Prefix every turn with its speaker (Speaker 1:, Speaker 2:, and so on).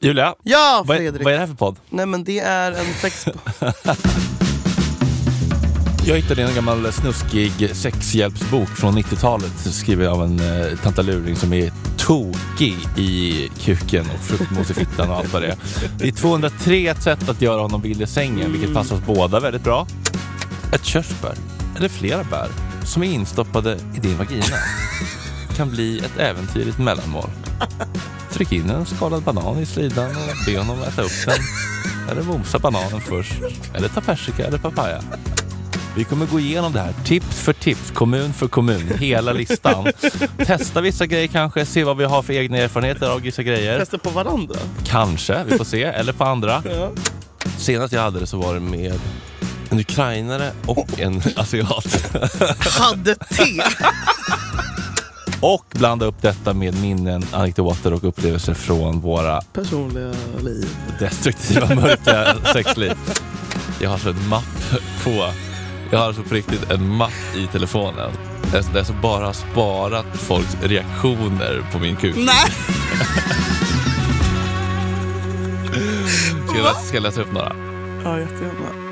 Speaker 1: Julia,
Speaker 2: Ja,
Speaker 1: vad är,
Speaker 2: Fredrik!
Speaker 1: vad är det här för podd?
Speaker 2: Nej men det är en sexpodd.
Speaker 1: Jag hittade en gammal snuskig sexhjälpsbok från 90-talet skriven av en eh, tantaluring som är tokig i kuken och fruktmos i fittan och allt vad det är. Det är 203 sätt att göra honom vild i sängen, vilket passar oss båda väldigt bra. Ett körsbär, eller flera bär, som är instoppade i din vagina kan bli ett äventyrligt mellanmål. Tryck in en skalad banan i slidan och be honom äta upp den. Eller mosa bananen först. Eller ta persika eller papaya. Vi kommer gå igenom det här tips för tips, kommun för kommun, hela listan. Testa vissa grejer kanske, se vad vi har för egna erfarenheter av vissa grejer.
Speaker 2: Testa på varandra.
Speaker 1: Kanske, vi får se. Eller på andra.
Speaker 2: Ja.
Speaker 1: Senast jag hade det så var det med en ukrainare och en asiat.
Speaker 2: Hade te!
Speaker 1: Och blanda upp detta med minnen, anekdoter och upplevelser från våra
Speaker 2: Personliga liv.
Speaker 1: destruktiva mörka sexliv. Jag har alltså en mapp på... Jag har alltså på riktigt en mapp i telefonen. Där jag alltså bara har sparat folks reaktioner på min kuk.
Speaker 2: Nej!
Speaker 1: Ska jag, läsa, ska jag läsa upp några?
Speaker 2: Ja, jättegärna.